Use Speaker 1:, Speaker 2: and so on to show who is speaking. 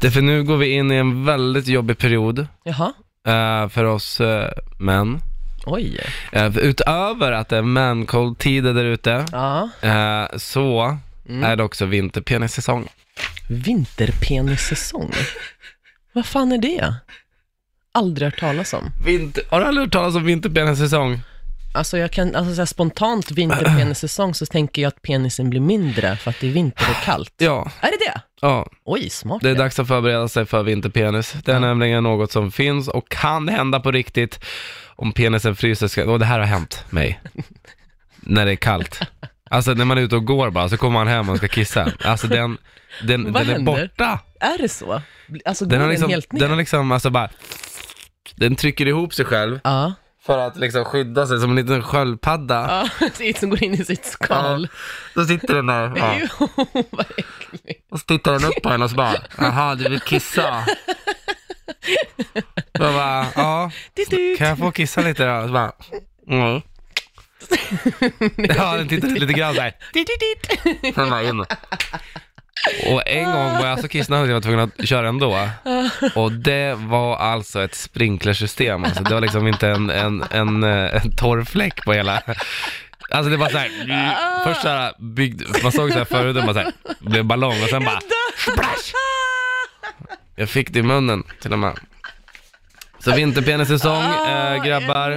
Speaker 1: Det är för nu går vi in i en väldigt jobbig period
Speaker 2: Jaha,
Speaker 1: eh, för oss eh, män.
Speaker 2: oj.
Speaker 1: Eh, för utöver att det är man-cold-tider där ute,
Speaker 2: Ja.
Speaker 1: eh, så
Speaker 2: Mm.
Speaker 1: är det också vinterpenissäsong.
Speaker 2: Vinterpenissäsong. Vad fan är det? Aldrig hört talas om.
Speaker 1: Vinter... Har du aldrig hört talas om vinterpenissäsong?
Speaker 2: Alltså jag kan, alltså så här spontant vinterpenissäsong så tänker jag att penisen blir mindre för att det är vinter och kallt.
Speaker 1: Ja,
Speaker 2: Är det det?
Speaker 1: ja.
Speaker 2: Oj, smart.
Speaker 1: Det är dags att förbereda sig för vinterpenis. Det är nämligen något som finns och kan hända på riktigt om penisen fryser. Ska... Och det här har hänt mig. när det är kallt. Alltså när man är ute och går bara, så kommer man hem och ska kissa. Alltså den, den, den
Speaker 2: Vad
Speaker 1: är
Speaker 2: händer?
Speaker 1: borta.
Speaker 2: Är det så? Alltså går
Speaker 1: Den har
Speaker 2: den,
Speaker 1: liksom,
Speaker 2: helt ner?
Speaker 1: den har liksom, alltså bara, den trycker ihop sig själv
Speaker 2: Ja,
Speaker 1: för att liksom skydda sig som en liten sköldpadda.
Speaker 2: ja. det som går in i sitt skal.
Speaker 1: Då sitter den där, ja.
Speaker 2: Jo, vad äckligt.
Speaker 1: Och så tittar den upp på henne och så bara, jaha du vill kissa? Då bara, ja,
Speaker 2: Det är
Speaker 1: kan jag få kissa lite då? Och så bara, mm. Ja, den tittade lite grann där. Sen bara in. Och en gång var jag så kissnödig att jag var tvungen att köra ändå. Och det var alltså ett sprinklersystem. Alltså, det var liksom inte en, en, en, eh, en torr fläck på hela. Alltså det var såhär, först såhär, byggd, man såg såhär förut, det bara såhär, blev ballong och sen bara splash!
Speaker 2: Ah!
Speaker 1: Jag fick det i munnen till och med. Så vinterpenissäsong, eh, grabbar.